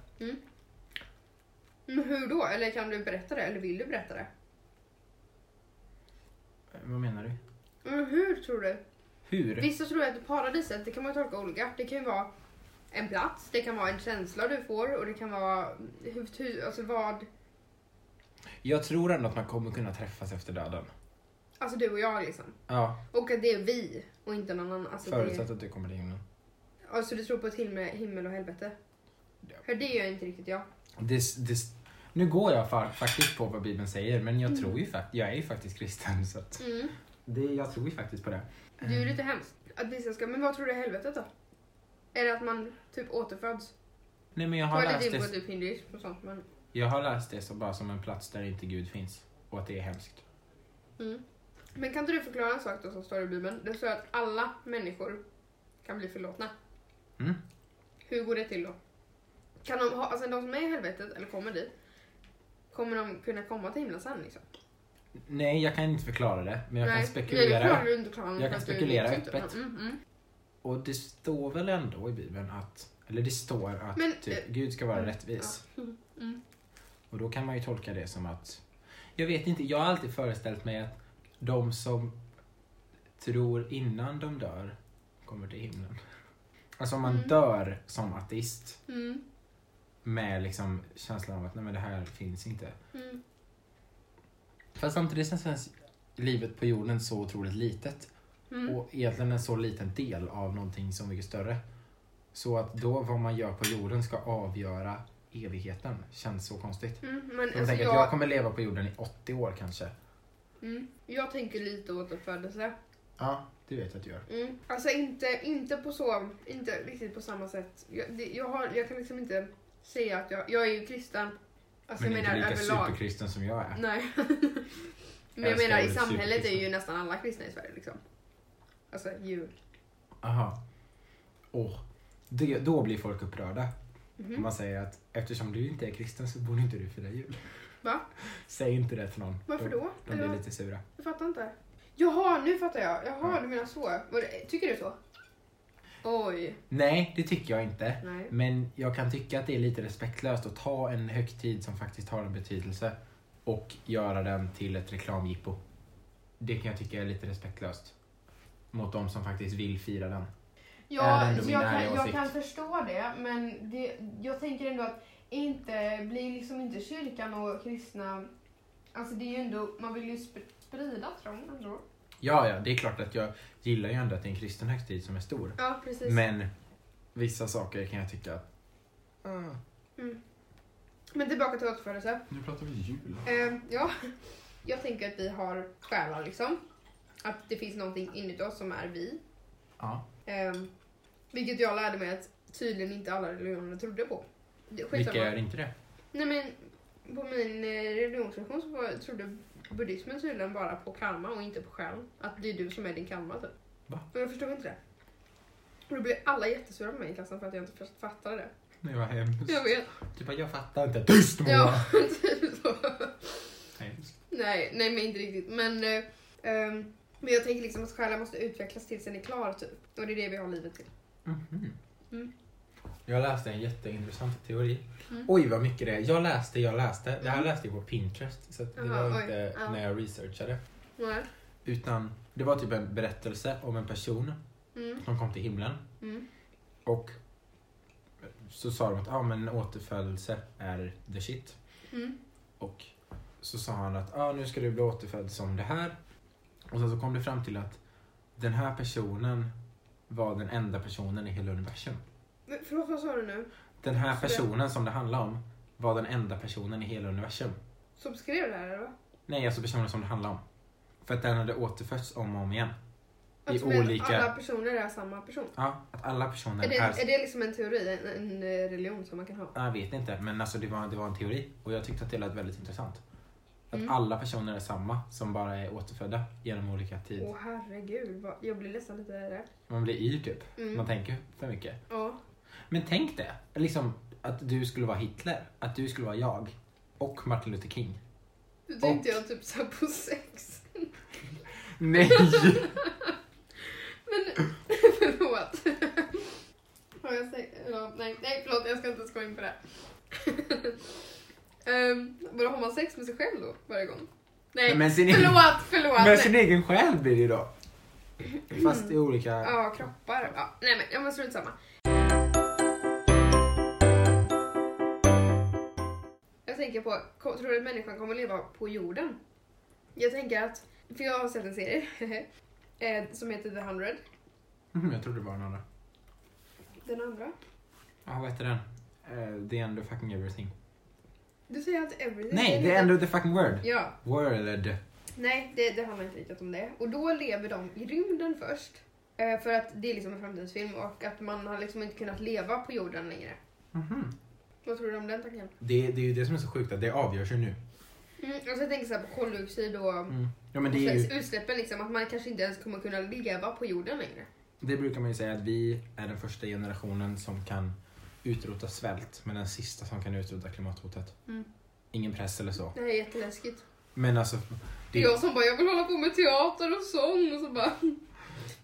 [SPEAKER 1] Men hur då? Eller kan du berätta det? Eller vill du berätta det?
[SPEAKER 2] Eh, Vad menar du?
[SPEAKER 1] Men hur tror du?
[SPEAKER 2] Hur?
[SPEAKER 1] Vissa tror att paradiset, det kan man ju tolka olika. Det kan ju vara en plats, det kan vara en känsla du får och det kan vara hur, hur, alltså vad,
[SPEAKER 2] Jag tror ändå att man kommer kunna träffas efter döden.
[SPEAKER 1] alltså du och jag liksom.
[SPEAKER 2] Ja,
[SPEAKER 1] Och att det är vi och inte någon annan. Alltså,
[SPEAKER 2] förutsatt
[SPEAKER 1] Det,
[SPEAKER 2] att du kommer till himlen.
[SPEAKER 1] alltså du tror på ett himmel, himmel och helvete?
[SPEAKER 2] Ja.
[SPEAKER 1] För det gör inte riktigt jag.
[SPEAKER 2] Det, det, nu går jag fa- faktiskt på vad Bibeln säger, men jag tror ju faktiskt, jag är ju faktiskt kristen så att
[SPEAKER 1] Mm.
[SPEAKER 2] det, jag tror ju faktiskt på det.
[SPEAKER 1] Det är ju
[SPEAKER 2] Eh.
[SPEAKER 1] lite hemskt att vissa ska, men vad tror du är helvetet då? Är det att man typ återföds?
[SPEAKER 2] Nej men jag
[SPEAKER 1] Jag
[SPEAKER 2] har,
[SPEAKER 1] har
[SPEAKER 2] läst
[SPEAKER 1] lite in på
[SPEAKER 2] det,
[SPEAKER 1] typ hinduism och sånt men...
[SPEAKER 2] jag har läst det som bara som en plats där inte Gud finns och att det är hemskt.
[SPEAKER 1] Mm. Men kan inte du förklara en sak då som står i Bibeln? Det står att alla människor kan bli förlåtna.
[SPEAKER 2] Mm.
[SPEAKER 1] Hur går det till då? Kan de, ha, alltså de som är i helvetet, eller kommer dit, kommer de kunna komma till himlen sen liksom?
[SPEAKER 2] Nej, jag kan inte förklara det, men jag
[SPEAKER 1] Nej,
[SPEAKER 2] kan
[SPEAKER 1] det
[SPEAKER 2] spekulera.
[SPEAKER 1] klarar du inte att förklara,
[SPEAKER 2] Jag kan
[SPEAKER 1] för att du
[SPEAKER 2] spekulera
[SPEAKER 1] liksom inte-
[SPEAKER 2] öppet.
[SPEAKER 1] Mm, mm.
[SPEAKER 2] Och det står väl ändå i Bibeln att Eller det står att
[SPEAKER 1] Men,
[SPEAKER 2] typ,
[SPEAKER 1] eh,
[SPEAKER 2] Gud ska vara
[SPEAKER 1] mm,
[SPEAKER 2] rättvis.
[SPEAKER 1] [laughs] Mm.
[SPEAKER 2] Och då kan man ju tolka det som att... Jag vet inte, jag har alltid föreställt mig att de som tror innan de dör kommer till himlen. Alltså om man
[SPEAKER 1] Mm.
[SPEAKER 2] dör som ateist
[SPEAKER 1] Mm.
[SPEAKER 2] med liksom känslan av att nej men det här finns inte.
[SPEAKER 1] Mm.
[SPEAKER 2] Fast samtidigt så känns livet på jorden så otroligt litet
[SPEAKER 1] Mm.
[SPEAKER 2] och egentligen en så liten del av någonting så mycket större. Så att då vad man gör på jorden ska avgöra evigheten känns så konstigt.
[SPEAKER 1] Mm. Men
[SPEAKER 2] Jag
[SPEAKER 1] alltså
[SPEAKER 2] tänker
[SPEAKER 1] jag,
[SPEAKER 2] att jag kommer leva på jorden i 80 år kanske.
[SPEAKER 1] mm. jag tänker lite återfödelse.
[SPEAKER 2] Ja, det vet jag att du gör.
[SPEAKER 1] Mm. Alltså inte, inte på så, inte riktigt på samma sätt. Jag, det, jag, har, jag kan liksom inte säga att jag, jag är ju kristen. Alltså
[SPEAKER 2] Men
[SPEAKER 1] jag
[SPEAKER 2] inte
[SPEAKER 1] menar
[SPEAKER 2] lika
[SPEAKER 1] överlag.
[SPEAKER 2] superkristen som jag är.
[SPEAKER 1] Nej. [laughs] Men jag
[SPEAKER 2] Älskar
[SPEAKER 1] menar i
[SPEAKER 2] ordet
[SPEAKER 1] samhället är ju
[SPEAKER 2] superkristen.
[SPEAKER 1] nästan alla kristna i Sverige liksom. Alltså ju.
[SPEAKER 2] Aha. Åh, det, då blir folk upprörda. Om
[SPEAKER 1] Mhm.
[SPEAKER 2] man säger att eftersom du inte är kristen så borde inte du fira jul. [laughs]
[SPEAKER 1] Va?
[SPEAKER 2] Säg inte det till någon.
[SPEAKER 1] Varför
[SPEAKER 2] De,
[SPEAKER 1] då?
[SPEAKER 2] de
[SPEAKER 1] Eller
[SPEAKER 2] blir
[SPEAKER 1] vad?
[SPEAKER 2] lite sura.
[SPEAKER 1] Jag fattar inte. Jaha, nu fattar jag. Jaha,
[SPEAKER 2] Ja.
[SPEAKER 1] du menar så. Var det- Tycker du så? Oj.
[SPEAKER 2] Nej, det tycker jag inte.
[SPEAKER 1] Nej.
[SPEAKER 2] Men jag kan tycka att det är lite respektlöst att ta en högtid som faktiskt har en betydelse och göra den till ett reklamjippo. Det kan jag tycka är lite respektlöst. Mot de som faktiskt vill fira den. Är
[SPEAKER 1] Ja,
[SPEAKER 2] ändå min
[SPEAKER 1] jag
[SPEAKER 2] ärliga
[SPEAKER 1] kan, jag
[SPEAKER 2] åsikt.
[SPEAKER 1] kan förstå det, men det, jag tänker ändå att inte blir liksom inte kyrkan och kristna... Alltså det är ju ändå, man vill ju sp- sprida tron ändå.
[SPEAKER 2] Ja, ja, det är klart att jag gillar ju ändå att det är en kristen högtid som är stor.
[SPEAKER 1] Ja, precis. Men,
[SPEAKER 2] Men vissa saker kan jag tycka att... Ah,
[SPEAKER 1] tillbaka till återfödelse.
[SPEAKER 2] nu pratar vi jul.
[SPEAKER 1] Eh, ja, jag tänker att vi har själar liksom. Att det finns någonting inuti oss som är vi.
[SPEAKER 2] Ja,
[SPEAKER 1] Eh, vilket jag lärde mig att tydligen inte alla religioner trodde på. Det- skitsamma.
[SPEAKER 2] vilka gör inte det?
[SPEAKER 1] Nej men på min eh, religionslektion så var, trodde buddhismen tydligen bara på karma och inte på själen. Att det är du som är din karma typ.
[SPEAKER 2] Va?
[SPEAKER 1] Men jag förstod inte det. Och då blev alla jättesura på mig i klassen för att jag inte först fattade det.
[SPEAKER 2] Nej, vad hemskt.
[SPEAKER 1] Jag vet.
[SPEAKER 2] Du bara, jag fattar inte. Tyst Moa!
[SPEAKER 1] Ja, [laughs] typ så.
[SPEAKER 2] Hemskt.
[SPEAKER 1] Nej, nej men inte riktigt. Men, eh, ehm, men jag tänker liksom att själen måste utvecklas tills den är klar typ. Och det är det vi har livet till.
[SPEAKER 2] Mhm.
[SPEAKER 1] Mm.
[SPEAKER 2] Jag läste en jätteintressant teori.
[SPEAKER 1] Mm.
[SPEAKER 2] Oj vad mycket det är. Jag läste, jag läste. Det här
[SPEAKER 1] Mm.
[SPEAKER 2] läste jag på Pinterest. Så att det
[SPEAKER 1] Jaha,
[SPEAKER 2] var
[SPEAKER 1] oj.
[SPEAKER 2] inte
[SPEAKER 1] Ja.
[SPEAKER 2] när jag researchade.
[SPEAKER 1] Nej.
[SPEAKER 2] Utan det var typ en berättelse om en person
[SPEAKER 1] Mm,
[SPEAKER 2] som kom till himlen.
[SPEAKER 1] mm,
[SPEAKER 2] Och så sa de att ah, men återfödelse är the shit.
[SPEAKER 1] mm,
[SPEAKER 2] Och så sa han att ah, nu ska du bli återfödd som det här. Och sen så kom det fram till att den här personen var den enda personen i hela universum.
[SPEAKER 1] Men Förlåt, vad sa du nu?
[SPEAKER 2] Den
[SPEAKER 1] Så
[SPEAKER 2] här
[SPEAKER 1] det-
[SPEAKER 2] personen som det handlar om var den enda personen i hela universum.
[SPEAKER 1] Som skrev det här eller? vad?
[SPEAKER 2] Nej, alltså personen som det handlar om. För att den hade återfötts om och om igen. I
[SPEAKER 1] Alltså, men
[SPEAKER 2] olika-
[SPEAKER 1] Alla personer är samma person.
[SPEAKER 2] Ja, att alla personer
[SPEAKER 1] Är det,
[SPEAKER 2] är...
[SPEAKER 1] är det liksom en teori, en, en eh, religion som man kan ha?
[SPEAKER 2] Jag vet inte, men alltså det var, det var en teori. Och jag tyckte att det lät väldigt intressant. Att
[SPEAKER 1] Mm.
[SPEAKER 2] alla personer är samma, som bara är återfödda genom olika tid.
[SPEAKER 1] Åh herregud, vad, jag blir nästan lite rädd.
[SPEAKER 2] Man blir yr typ.
[SPEAKER 1] Mm.
[SPEAKER 2] Man tänker för mycket.
[SPEAKER 1] Ja.
[SPEAKER 2] Men tänk det, liksom att du skulle vara Hitler. Att du skulle vara jag. Och Martin
[SPEAKER 1] [laughs]
[SPEAKER 2] Luther King.
[SPEAKER 1] Nu tänkte jag typ såhär på sex. [laughs]
[SPEAKER 2] Nej!
[SPEAKER 1] Men förlåt. [laughs] Har jag sex? Ja, nej, nej förlåt jag ska inte ens gå in på det. [laughs] um, bara har man sex med sig själv då varje gång? Nej,
[SPEAKER 2] Men sin-
[SPEAKER 1] förlåt, förlåt.
[SPEAKER 2] Men
[SPEAKER 1] nej.
[SPEAKER 2] sin egen själ blir det ju då. Fast i olika...
[SPEAKER 1] Mm. Ja, kroppar. Ja. Nej men, ja, men strunt samma. Jag tänker på, ko- tror du att människan kommer leva på jorden? Jag tänker att, för jag har sett en serie [laughs] eh, som heter The 100.
[SPEAKER 2] Mhm, Jag trodde det var den andra.
[SPEAKER 1] Den andra.
[SPEAKER 2] Ja, vad heter den? Eh, the end of fucking everything.
[SPEAKER 1] Du säger att everything...
[SPEAKER 2] Nej, the end of the fucking word.
[SPEAKER 1] Ja,
[SPEAKER 2] Word.
[SPEAKER 1] nej det, det handlar inte riktigt om det. Och då lever de i rymden först. Eh, för att det är liksom en framtidsfilm och att man har liksom inte kunnat leva på jorden längre.
[SPEAKER 2] Mhm.
[SPEAKER 1] Vad tror du om den tanken?
[SPEAKER 2] Det, det är ju det som är så sjukt, att det avgörs ju nu.
[SPEAKER 1] Mm, och så tänker jag så här på koldioxid och...
[SPEAKER 2] Mm. Ja, men det, är ju,
[SPEAKER 1] Utsläppen liksom, att man kanske inte ens kommer kunna leva på jorden längre.
[SPEAKER 2] det brukar man ju säga att vi är den första generationen som kan utrota svält, men den sista som kan utrota klimathotet.
[SPEAKER 1] Mm.
[SPEAKER 2] Ingen press eller så.
[SPEAKER 1] Det här är jätteläskigt.
[SPEAKER 2] Men alltså...
[SPEAKER 1] Det är
[SPEAKER 2] Det,
[SPEAKER 1] jag som bara, jag vill hålla på med teater och sång och så bara... [laughs]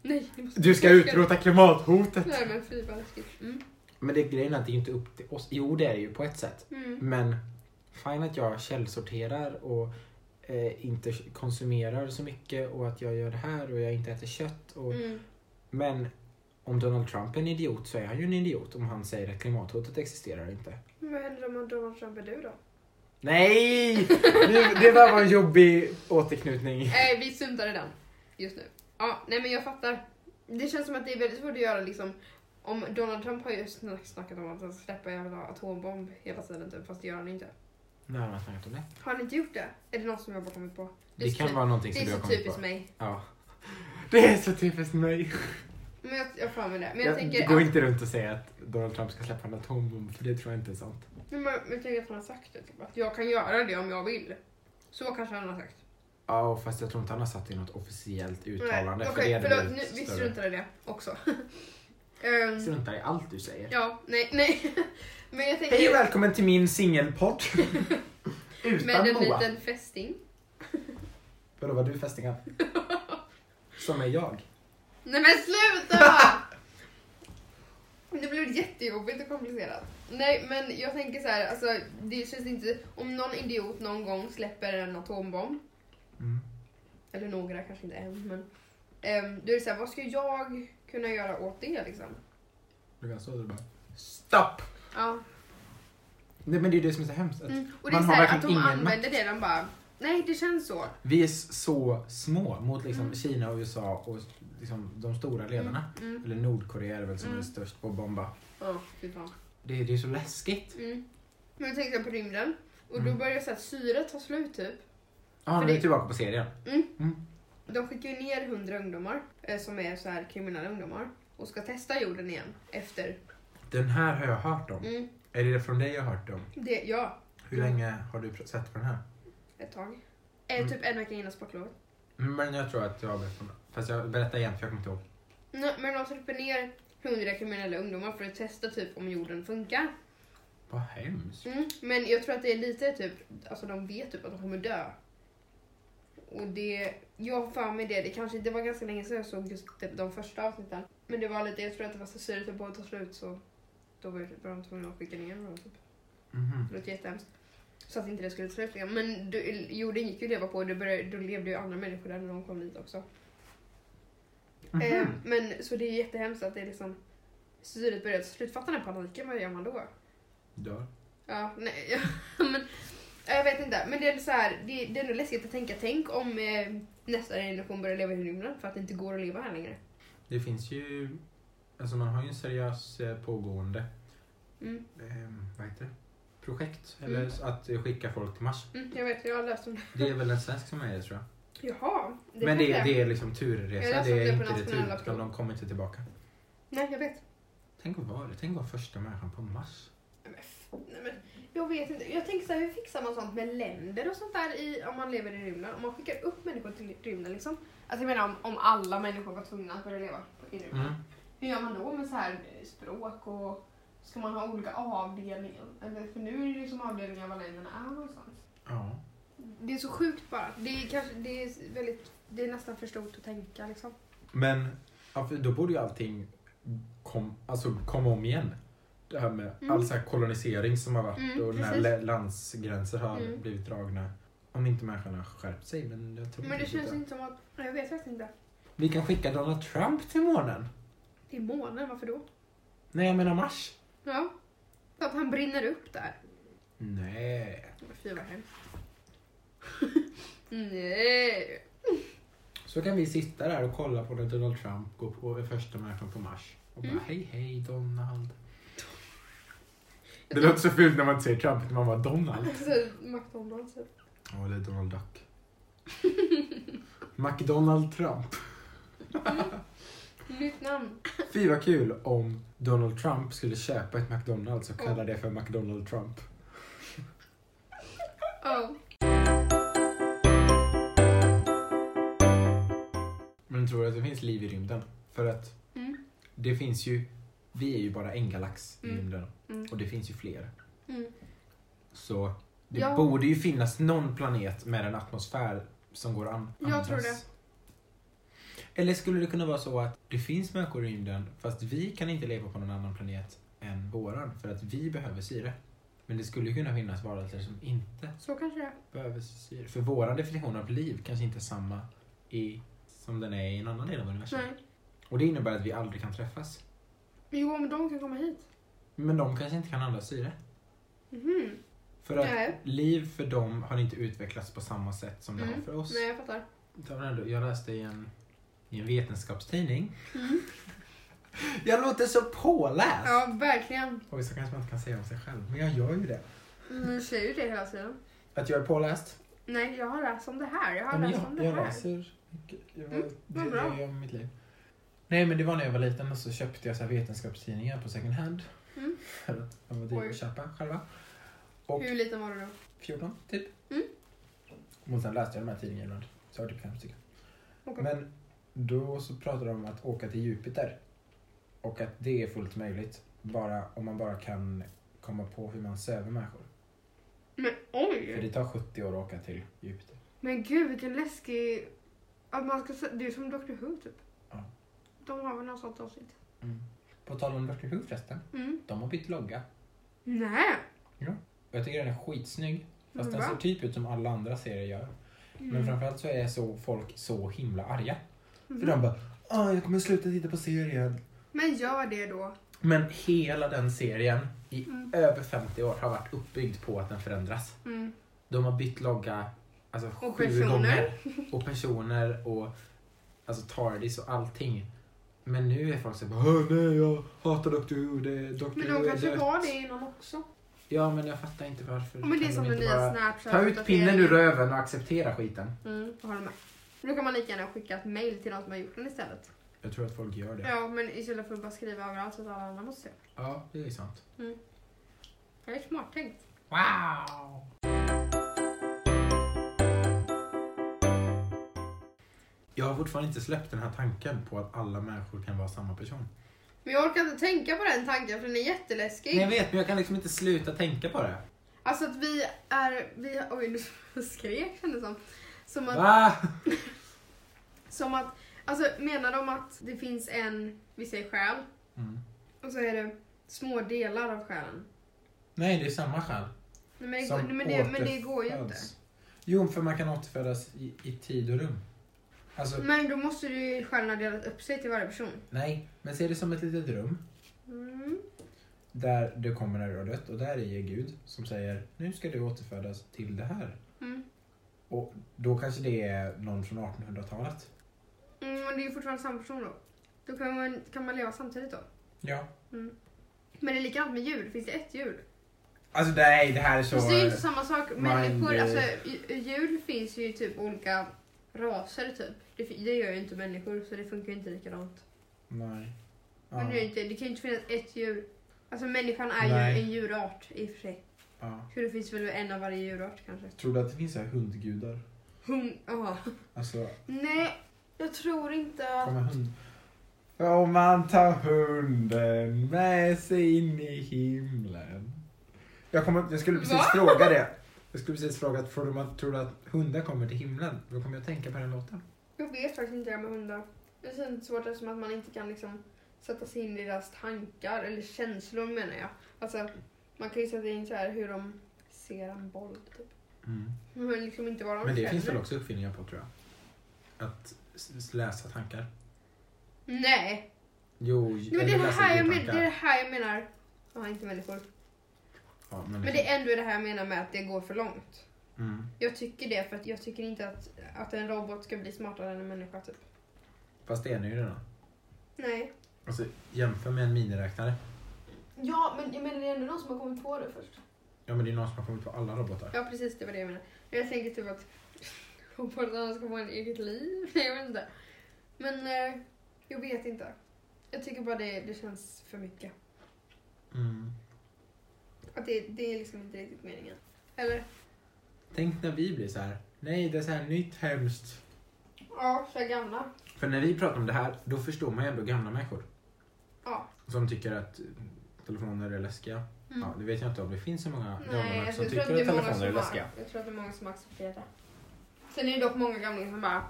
[SPEAKER 1] Nej, ni måste
[SPEAKER 2] du ska utrota klimathotet!
[SPEAKER 1] Nej men fy vad läskigt. Mm.
[SPEAKER 2] Men det, grejen är att det är ju inte upp till oss. Jo, det är det ju på ett sätt.
[SPEAKER 1] Mm.
[SPEAKER 2] Men fine att jag källsorterar och eh, inte konsumerar så mycket och att jag gör det här och jag inte äter kött. Och,
[SPEAKER 1] Mm.
[SPEAKER 2] Men om Donald Trump är en idiot så är han ju en idiot om han säger att klimathotet existerar inte.
[SPEAKER 1] Men vad händer om Donald Trump är du då?
[SPEAKER 2] Nej! Det, det där var en jobbig återknutning.
[SPEAKER 1] Nej, Eh, vi suntade den just nu. Ja, nej men jag fattar. Det känns som att det är väldigt svårt att göra liksom om Donald Trump har ju snack, snackat om att han ska släppa en jävla atombomb hela tiden typ, fast det gör han inte.
[SPEAKER 2] När har man snackat om det?
[SPEAKER 1] Har han inte gjort det? Är det något som jag bara kommit på?
[SPEAKER 2] Det,
[SPEAKER 1] är så
[SPEAKER 2] kan
[SPEAKER 1] typ-
[SPEAKER 2] vara någonting
[SPEAKER 1] Det
[SPEAKER 2] som
[SPEAKER 1] är
[SPEAKER 2] du har
[SPEAKER 1] så
[SPEAKER 2] kommit på.
[SPEAKER 1] typiskt mig.
[SPEAKER 2] Ja. Det är så typiskt mig.
[SPEAKER 1] Men jag, jag får med det. Men jag,
[SPEAKER 2] Jag
[SPEAKER 1] tänker
[SPEAKER 2] Gå
[SPEAKER 1] att,
[SPEAKER 2] inte runt och säga att Donald Trump ska släppa en atombomb för det tror jag inte är sant.
[SPEAKER 1] men jag, jag tänker att han har sagt det. Typ, att jag kan göra det om jag vill. Så kanske han har sagt.
[SPEAKER 2] Ja, och fast jag tror inte han har satt i något officiellt uttalande.
[SPEAKER 1] Nej,
[SPEAKER 2] för det
[SPEAKER 1] Okej,
[SPEAKER 2] hade
[SPEAKER 1] förlåt.
[SPEAKER 2] blivit
[SPEAKER 1] Nu, vi
[SPEAKER 2] större.
[SPEAKER 1] struntade i det också. [laughs] Ehm,
[SPEAKER 2] Struntar i allt du säger.
[SPEAKER 1] ja, nej, nej. [laughs] men jag tänker...
[SPEAKER 2] Hej och välkommen till min singelpodd.
[SPEAKER 1] [laughs]
[SPEAKER 2] Utan
[SPEAKER 1] Med en
[SPEAKER 2] Moa.
[SPEAKER 1] liten fästing.
[SPEAKER 2] Vadå, var du fästingen?
[SPEAKER 1] [laughs]
[SPEAKER 2] Som är jag.
[SPEAKER 1] Nej men sluta! [laughs] Det blev jättejobbigt och komplicerat. Nej men jag tänker så här, alltså, det känns inte... Om någon idiot någon gång släpper en atombomb,
[SPEAKER 2] Mm.
[SPEAKER 1] eller några, kanske inte en, men... Um, då är det så här, vad ska jag kunna göra åt det liksom?
[SPEAKER 2] Du kan stå där och bara... Stopp!
[SPEAKER 1] Ja.
[SPEAKER 2] Nej men det är ju det som är så hemskt. Att
[SPEAKER 1] Mm. Och det är
[SPEAKER 2] Man
[SPEAKER 1] så
[SPEAKER 2] har
[SPEAKER 1] här, att
[SPEAKER 2] verkligen
[SPEAKER 1] de
[SPEAKER 2] ingen
[SPEAKER 1] använder det, de bara... Nej det känns så.
[SPEAKER 2] Vi är s- så små mot liksom
[SPEAKER 1] Mm.
[SPEAKER 2] Kina och USA och liksom de stora ledarna.
[SPEAKER 1] Mm. Mm.
[SPEAKER 2] Eller Nordkorea är väl som
[SPEAKER 1] Mm.
[SPEAKER 2] är störst på att bomba.
[SPEAKER 1] Ja, fy fan.
[SPEAKER 2] Det, är- det är så läskigt.
[SPEAKER 1] Mm. Men jag tänkte på rymden. Och då
[SPEAKER 2] Mm.
[SPEAKER 1] börjar så här, syret ta slut typ.
[SPEAKER 2] Ja,
[SPEAKER 1] För
[SPEAKER 2] nu är
[SPEAKER 1] det-
[SPEAKER 2] vi tillbaka på serien.
[SPEAKER 1] De skickar ju ner 100 ungdomar eh, som är så här kriminella ungdomar och ska testa jorden igen efter.
[SPEAKER 2] Den här har jag hört om.
[SPEAKER 1] Mm,
[SPEAKER 2] Är det från dig jag har hört om?
[SPEAKER 1] det, ja,
[SPEAKER 2] Hur
[SPEAKER 1] Mm.
[SPEAKER 2] länge har du pr- sett på den här?
[SPEAKER 1] ett tag. Eh,
[SPEAKER 2] Mm.
[SPEAKER 1] Typ en vecka innan sportlovet.
[SPEAKER 2] Men jag tror att jag har berättat om Fast jag berättar igen för jag kommer inte ihåg.
[SPEAKER 1] Nå- Men de släpper ner 100 kriminella ungdomar för att testa typ om jorden funkar.
[SPEAKER 2] Vad hemskt.
[SPEAKER 1] Mm. Men jag tror att det är lite typ, alltså de vet typ att de kommer dö. Och det, jag har för mig det, det kanske det var ganska länge sedan jag såg just typ de, de första avsnitten. Men det var lite, jag tror att det var så syret höll på att ta slut så då var det- var de tvungna att skicka ner dem typ.
[SPEAKER 2] Mhm.
[SPEAKER 1] Det låter jättehemskt. Så att inte det skulle sluta. igen. Men du, jorden gick ju att leva på och det började, då levde ju andra människor där när de kom dit också.
[SPEAKER 2] Mhm.
[SPEAKER 1] Eh, men så det är jättehemskt att det är liksom syret började ta slut. Fattar den paniken? Vad gör man då?
[SPEAKER 2] Dör.
[SPEAKER 1] Ja, nej. [laughs] ja, men, ja, jag vet inte. Men det är så här, det, det är nog läskigt att tänka. Tänk om eh, nästa generation börjar leva i rymden för att det inte går att leva här längre.
[SPEAKER 2] Det finns ju... Alltså man har ju en seriös eh, pågående...
[SPEAKER 1] Mm.
[SPEAKER 2] ehm, vad heter det? Projekt. Eller
[SPEAKER 1] Mm.
[SPEAKER 2] så att eh, skicka folk till Mars.
[SPEAKER 1] Mm, jag vet, jag har läst om det.
[SPEAKER 2] Det är väl en svensk som är det tror jag.
[SPEAKER 1] Jaha.
[SPEAKER 2] Men det,
[SPEAKER 1] kanske-
[SPEAKER 2] det är liksom
[SPEAKER 1] Jag
[SPEAKER 2] turresa.
[SPEAKER 1] läste om
[SPEAKER 2] Det
[SPEAKER 1] det
[SPEAKER 2] är
[SPEAKER 1] på
[SPEAKER 2] inte
[SPEAKER 1] nationella
[SPEAKER 2] retur. Utan
[SPEAKER 1] prov.
[SPEAKER 2] de kommer inte tillbaka.
[SPEAKER 1] Nej, jag vet.
[SPEAKER 2] Tänk att vara det. Tänk att vara första människan på Mars.
[SPEAKER 1] Nej, men f- nej, men Jag vet inte. Jag tänker så här, hur fixar man sånt med länder och sånt där i, om man lever i rymden? Om man skickar upp människor till rymden liksom. Alltså jag menar om, om alla människor var tvungna att börja leva i rymden.
[SPEAKER 2] Mm.
[SPEAKER 1] Hur gör man då med så här eh, språk och ska man ha olika avdelningar? Eller, för nu är det liksom avdelningar var länderna är någonstans.
[SPEAKER 2] Ja.
[SPEAKER 1] Det är så sjukt bara. Det är, kanske, det är, väldigt, det är nästan för stort att tänka liksom.
[SPEAKER 2] Men ja, för då borde ju allting kom, alltså, komma om igen. Det här med
[SPEAKER 1] Mm.
[SPEAKER 2] all så här kolonisering som har varit
[SPEAKER 1] Mm,
[SPEAKER 2] och när
[SPEAKER 1] precis.
[SPEAKER 2] lä- landsgränser har
[SPEAKER 1] Mm.
[SPEAKER 2] blivit dragna. Om inte människan har skärpt sig. Men jag tror
[SPEAKER 1] Men det
[SPEAKER 2] inte
[SPEAKER 1] känns
[SPEAKER 2] det.
[SPEAKER 1] inte som att, jag vet faktiskt inte.
[SPEAKER 2] Vi kan skicka Donald Trump till månen.
[SPEAKER 1] Till månen, varför då?
[SPEAKER 2] Nej, jag menar Mars.
[SPEAKER 1] Ja. För att han brinner upp där.
[SPEAKER 2] Nej.
[SPEAKER 1] Fy vad hemskt. Mm. Nej.
[SPEAKER 2] Så kan vi sitta där och kolla på när Donald Trump går på är första människan på Mars. Och bara
[SPEAKER 1] Mm.
[SPEAKER 2] hej hej
[SPEAKER 1] [laughs]
[SPEAKER 2] Donald.
[SPEAKER 1] Jag
[SPEAKER 2] Det låter så fult när man inte säger Trump, när man bara Donald.
[SPEAKER 1] Alltså, McDonalds. typ.
[SPEAKER 2] Ja, eller Donald Duck. [laughs] McDonald Trump.
[SPEAKER 1] Nytt namn.
[SPEAKER 2] Fy vad kul om Donald Trump skulle köpa ett McDonalds och kalla det för McDonald Trump.
[SPEAKER 1] Ja.
[SPEAKER 2] Men tror du att det finns liv i rymden? För att
[SPEAKER 1] Mm.
[SPEAKER 2] det finns ju, vi är ju bara en galax i
[SPEAKER 1] Mm.
[SPEAKER 2] rymden
[SPEAKER 1] Mm.
[SPEAKER 2] och det finns ju fler.
[SPEAKER 1] Mm.
[SPEAKER 2] Så det
[SPEAKER 1] Ja.
[SPEAKER 2] borde ju finnas någon planet med en atmosfär som går an.
[SPEAKER 1] Jag
[SPEAKER 2] andas.
[SPEAKER 1] tror det.
[SPEAKER 2] Eller skulle det kunna vara så att det finns människor i rymden fast vi kan inte leva på någon annan planet än våran för att vi behöver syre. Men det skulle ju kunna finnas varelser som inte
[SPEAKER 1] Så kanske det är.
[SPEAKER 2] behöver syre. För våran definition av liv kanske inte är samma i, som den är i en annan del av universum.
[SPEAKER 1] Nej.
[SPEAKER 2] Och det innebär att vi aldrig kan träffas.
[SPEAKER 1] Jo, men de kan komma hit.
[SPEAKER 2] Men de kanske inte kan andas syre.
[SPEAKER 1] Mhm.
[SPEAKER 2] För att
[SPEAKER 1] Nej.
[SPEAKER 2] liv för dem har inte utvecklats på samma sätt som det har
[SPEAKER 1] Mm.
[SPEAKER 2] för oss.
[SPEAKER 1] Nej, jag fattar.
[SPEAKER 2] Det var ändå- Jag läste i en, i en vetenskapstidning. [laughs] Jag låter så påläst!
[SPEAKER 1] Mm. Ja, verkligen.
[SPEAKER 2] Oj, så kanske man inte kan säga om sig själv, men jag gör ju det.
[SPEAKER 1] Du Mm, säger ju det hela tiden.
[SPEAKER 2] Att jag är påläst?
[SPEAKER 1] Nej, jag har läst om det här. Jag har
[SPEAKER 2] Ja, men
[SPEAKER 1] läst om det
[SPEAKER 2] jag, jag
[SPEAKER 1] här.
[SPEAKER 2] läser. mycket. Jag,
[SPEAKER 1] Mm,
[SPEAKER 2] det
[SPEAKER 1] vad bra.
[SPEAKER 2] är om mitt liv. Nej, men det var när jag var liten och så köpte jag så här vetenskapstidningar på second hand.
[SPEAKER 1] Mm.
[SPEAKER 2] [laughs] För att de var dyra
[SPEAKER 1] Oj.
[SPEAKER 2] att köpa själva. Och
[SPEAKER 1] Hur liten var du då?
[SPEAKER 2] 14, typ.
[SPEAKER 1] Mm.
[SPEAKER 2] Och sen läste jag de här tidningarna ibland. Så jag har typ fem stycken.
[SPEAKER 1] Okej.
[SPEAKER 2] Men då så pratar de om att åka till Jupiter. Och att det är fullt möjligt. Bara om man bara kan komma på hur man söver människor.
[SPEAKER 1] Men
[SPEAKER 2] För
[SPEAKER 1] oj!
[SPEAKER 2] det tar 70 år att åka till Jupiter.
[SPEAKER 1] Men gud vilken läskig... Att man ska... se- Det är som Dr Who typ.
[SPEAKER 2] Ja.
[SPEAKER 1] De har väl något sånt avsnitt?
[SPEAKER 2] På tal om Dr. Who förresten.
[SPEAKER 1] Mm.
[SPEAKER 2] De har bytt logga.
[SPEAKER 1] Nej!
[SPEAKER 2] Och jag tycker den är skitsnygg. Fast den
[SPEAKER 1] Mm, Va?
[SPEAKER 2] ser typ ut som alla andra serier gör. Men
[SPEAKER 1] Mm.
[SPEAKER 2] framförallt så är så folk så himla arga. För
[SPEAKER 1] Mm.
[SPEAKER 2] de bara ah, jag kommer sluta titta på serien.
[SPEAKER 1] Men gör det då.
[SPEAKER 2] Men hela den serien i
[SPEAKER 1] Mm.
[SPEAKER 2] över 50 år har varit uppbyggd på att den förändras.
[SPEAKER 1] Mm.
[SPEAKER 2] De har bytt logga alltså,
[SPEAKER 1] Och
[SPEAKER 2] sju
[SPEAKER 1] personer.
[SPEAKER 2] gånger. Och personer och alltså, TARDIS och allting. Men nu är folk så bara "Åh, nej jag hatar Dr Who, det är Dr
[SPEAKER 1] Men
[SPEAKER 2] Who
[SPEAKER 1] de
[SPEAKER 2] är
[SPEAKER 1] kanske
[SPEAKER 2] dött."
[SPEAKER 1] var det innan också.
[SPEAKER 2] Ja men jag fattar inte varför.
[SPEAKER 1] Ja, men det är
[SPEAKER 2] kan
[SPEAKER 1] som
[SPEAKER 2] de
[SPEAKER 1] den
[SPEAKER 2] inte
[SPEAKER 1] nya
[SPEAKER 2] bara-
[SPEAKER 1] Snapchat.
[SPEAKER 2] Ta ut pinnen ur röven och acceptera skiten.
[SPEAKER 1] Mm, jag håller med. Men Då kan man lika gärna skicka ett mail till de som har gjort den istället.
[SPEAKER 2] Jag tror att folk gör det.
[SPEAKER 1] Ja, men istället för att bara skriva överallt så att alla andra måste se.
[SPEAKER 2] Ja, det är sant.
[SPEAKER 1] Det är smart tänkt.
[SPEAKER 2] Wow! Jag har fortfarande inte släppt den här tanken på att alla människor kan vara samma person.
[SPEAKER 1] Men jag orkar inte tänka på den tanken för den är jätteläskig.
[SPEAKER 2] Nej, jag vet, men jag kan liksom inte sluta tänka på det.
[SPEAKER 1] Alltså att vi är... Vi, oj, nu [laughs] skrek kändes det som. Som att,
[SPEAKER 2] Va?
[SPEAKER 1] som att... Alltså menar de att det finns en, vi säger själ,
[SPEAKER 2] Mm.
[SPEAKER 1] och så är det små delar av själen?
[SPEAKER 2] Nej, det är samma själ.
[SPEAKER 1] Nej, men, det,
[SPEAKER 2] som
[SPEAKER 1] går- nej, men, det, men det går ju inte.
[SPEAKER 2] återföds. Jo, för man kan återfödas i, i tid och rum. Alltså,
[SPEAKER 1] Men då måste du ju själen ha delat upp sig till varje person.
[SPEAKER 2] nej, men se det som ett litet rum.
[SPEAKER 1] Mm.
[SPEAKER 2] Där du kommer när du har dött och där är Gud som säger nu ska du återfödas till det här.
[SPEAKER 1] Mm.
[SPEAKER 2] Då kanske det är någon från 1800-talet.
[SPEAKER 1] Mm, men det är ju fortfarande samma person då. Då kan man, kan man leva samtidigt då.
[SPEAKER 2] Ja.
[SPEAKER 1] Men det är likadant med djur. Finns det ett djur?
[SPEAKER 2] Alltså nej, det här är så...
[SPEAKER 1] Fast det är ju inte samma sak. Människor,
[SPEAKER 2] mind-
[SPEAKER 1] alltså dj- djur finns ju i typ olika raser typ. Det, fi- det gör ju inte människor så det funkar ju inte likadant.
[SPEAKER 2] Nej. Ja,
[SPEAKER 1] Men det, är inte, det kan ju inte finnas ett djur. Alltså människan är
[SPEAKER 2] Nej.
[SPEAKER 1] ju en djurart i och för sig.
[SPEAKER 2] ja.
[SPEAKER 1] Så det finns väl en av varje djurart kanske.
[SPEAKER 2] Tror du att det finns så här hundgudar?
[SPEAKER 1] Hon, ja.
[SPEAKER 2] Alltså,
[SPEAKER 1] Nej, jag tror inte att...
[SPEAKER 2] kommer hund... Får man ta hunden med sig in i himlen? Jag, kommer, jag skulle precis
[SPEAKER 1] Va?
[SPEAKER 2] fråga det. Jag skulle precis fråga, tror du, man, tror du att hundar kommer till himlen? Då kommer jag att tänka på den låten.
[SPEAKER 1] Jag vet faktiskt inte det här med hundar. Det känns svårt eftersom att man inte kan liksom sätta sig in i deras tankar eller känslor menar jag. Alltså, man kan ju sätta in så här hur de ser en boll typ. Men liksom inte vad de
[SPEAKER 2] Mm. Men det
[SPEAKER 1] känner.
[SPEAKER 2] finns väl också uppfinningar på tror jag. Att s- s- läsa tankar.
[SPEAKER 1] Nej!
[SPEAKER 2] Jo,
[SPEAKER 1] Nej, men det, är
[SPEAKER 2] eller
[SPEAKER 1] det,
[SPEAKER 2] läsa
[SPEAKER 1] här jag men, det
[SPEAKER 2] djurtankar.
[SPEAKER 1] är det här jag menar. Ja, inte människor.
[SPEAKER 2] Ja, men liksom.
[SPEAKER 1] Men det är ändå det här jag menar med att det går för långt.
[SPEAKER 2] mm.
[SPEAKER 1] Jag tycker det för att jag tycker inte att, att en robot ska bli smartare än en människa typ.
[SPEAKER 2] Fast det är den ju redan.
[SPEAKER 1] Nej.
[SPEAKER 2] Alltså, jämför med en miniräknare.
[SPEAKER 1] Ja, men jag menar det är ändå någon som har kommit på det först.
[SPEAKER 2] Ja, men det är någon som har kommit på alla robotar.
[SPEAKER 1] Ja precis, det var det jag menade. Jag tänker typ att [laughs] hoppas att han ska få en eget liv. [laughs] Nej, jag vet inte. Men eh, jag vet inte. Jag tycker bara det, det känns för mycket.
[SPEAKER 2] Mm.
[SPEAKER 1] Att det, det är liksom inte riktigt meningen. Eller?
[SPEAKER 2] Tänk när vi blir så här. Nej, det är så här nytt hemskt.
[SPEAKER 1] Ja, så är gamla.
[SPEAKER 2] För när vi pratar om det här, då förstår man ju ändå gamla människor.
[SPEAKER 1] Ja.
[SPEAKER 2] Som tycker att eh, telefoner är läskiga.
[SPEAKER 1] Mm.
[SPEAKER 2] Ja, det vet jag inte om det finns så många gamla
[SPEAKER 1] Nej,
[SPEAKER 2] människor
[SPEAKER 1] alltså,
[SPEAKER 2] som
[SPEAKER 1] jag tror
[SPEAKER 2] tycker
[SPEAKER 1] att
[SPEAKER 2] att
[SPEAKER 1] det är många
[SPEAKER 2] telefoner är
[SPEAKER 1] som
[SPEAKER 2] läskiga.
[SPEAKER 1] har, jag tror att det är många som accepterar det. Sen är det dock många gamlingar som bara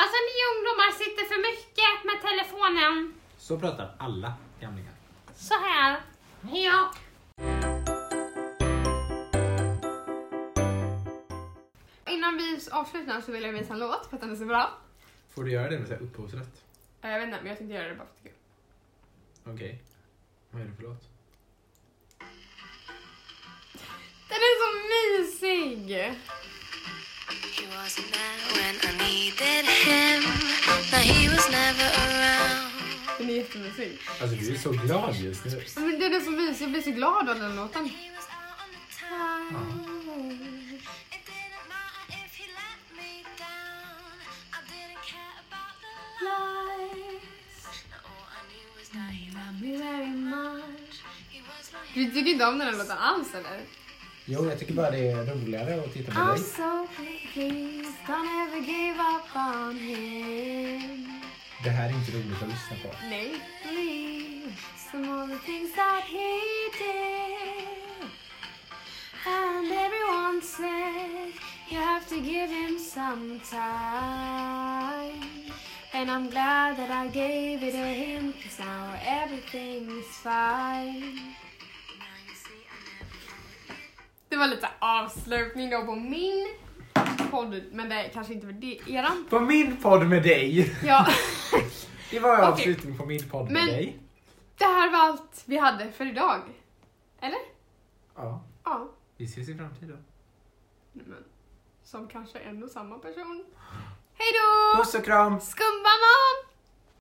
[SPEAKER 1] Alltså ni ungdomar sitter för mycket med telefonen.
[SPEAKER 2] Så pratar alla gamlingar.
[SPEAKER 3] Så här.
[SPEAKER 1] Ja. Innan vi avslutar så vill jag visa en låt för att den är så bra.
[SPEAKER 2] Får du göra det med så här upphovsrätt?
[SPEAKER 1] Eh, Jag vet inte, men jag tänkte göra det bara för att det är kul.
[SPEAKER 2] Okej. Vad är det för låt?
[SPEAKER 1] Den är så mysig!
[SPEAKER 3] He was a man when I needed him. Now he was never around.
[SPEAKER 1] Den är jättemysig.
[SPEAKER 2] Alltså du är så glad just nu.
[SPEAKER 1] Ja, Men den är så mysig, jag blir så glad av den låten.
[SPEAKER 3] He was out on the town. It didn't matter if he let me down. I didn't care about the lies. Now all I knew was that he loved me. He was my
[SPEAKER 1] Du tycker inte om den här låten alls eller?
[SPEAKER 2] Jo, jag tycker bara det är roligare att titta på
[SPEAKER 3] I'm
[SPEAKER 2] dig.
[SPEAKER 3] so pleased. Don't ever give up on him.
[SPEAKER 2] Det här är inte roligt att lyssna på.
[SPEAKER 1] Nej.
[SPEAKER 3] believe some of the things that he did. And everyone said you have to give him some time. And I'm glad that I gave it to him, cause now everything is fine.
[SPEAKER 1] Det var lite avslutning då på min podd, men det är kanske inte för det, eran.
[SPEAKER 2] På min podd med dig!
[SPEAKER 1] Ja, [laughs]
[SPEAKER 2] Det var
[SPEAKER 1] Okej.
[SPEAKER 2] avslutning på min podd med
[SPEAKER 1] Men-
[SPEAKER 2] dig.
[SPEAKER 1] det här var allt vi hade för idag. Eller?
[SPEAKER 2] Ja,
[SPEAKER 1] Ja.
[SPEAKER 2] vi ses i framtiden.
[SPEAKER 1] Men, som kanske en och samma person. Hej då!
[SPEAKER 2] Puss och kram!
[SPEAKER 1] Skumbanan!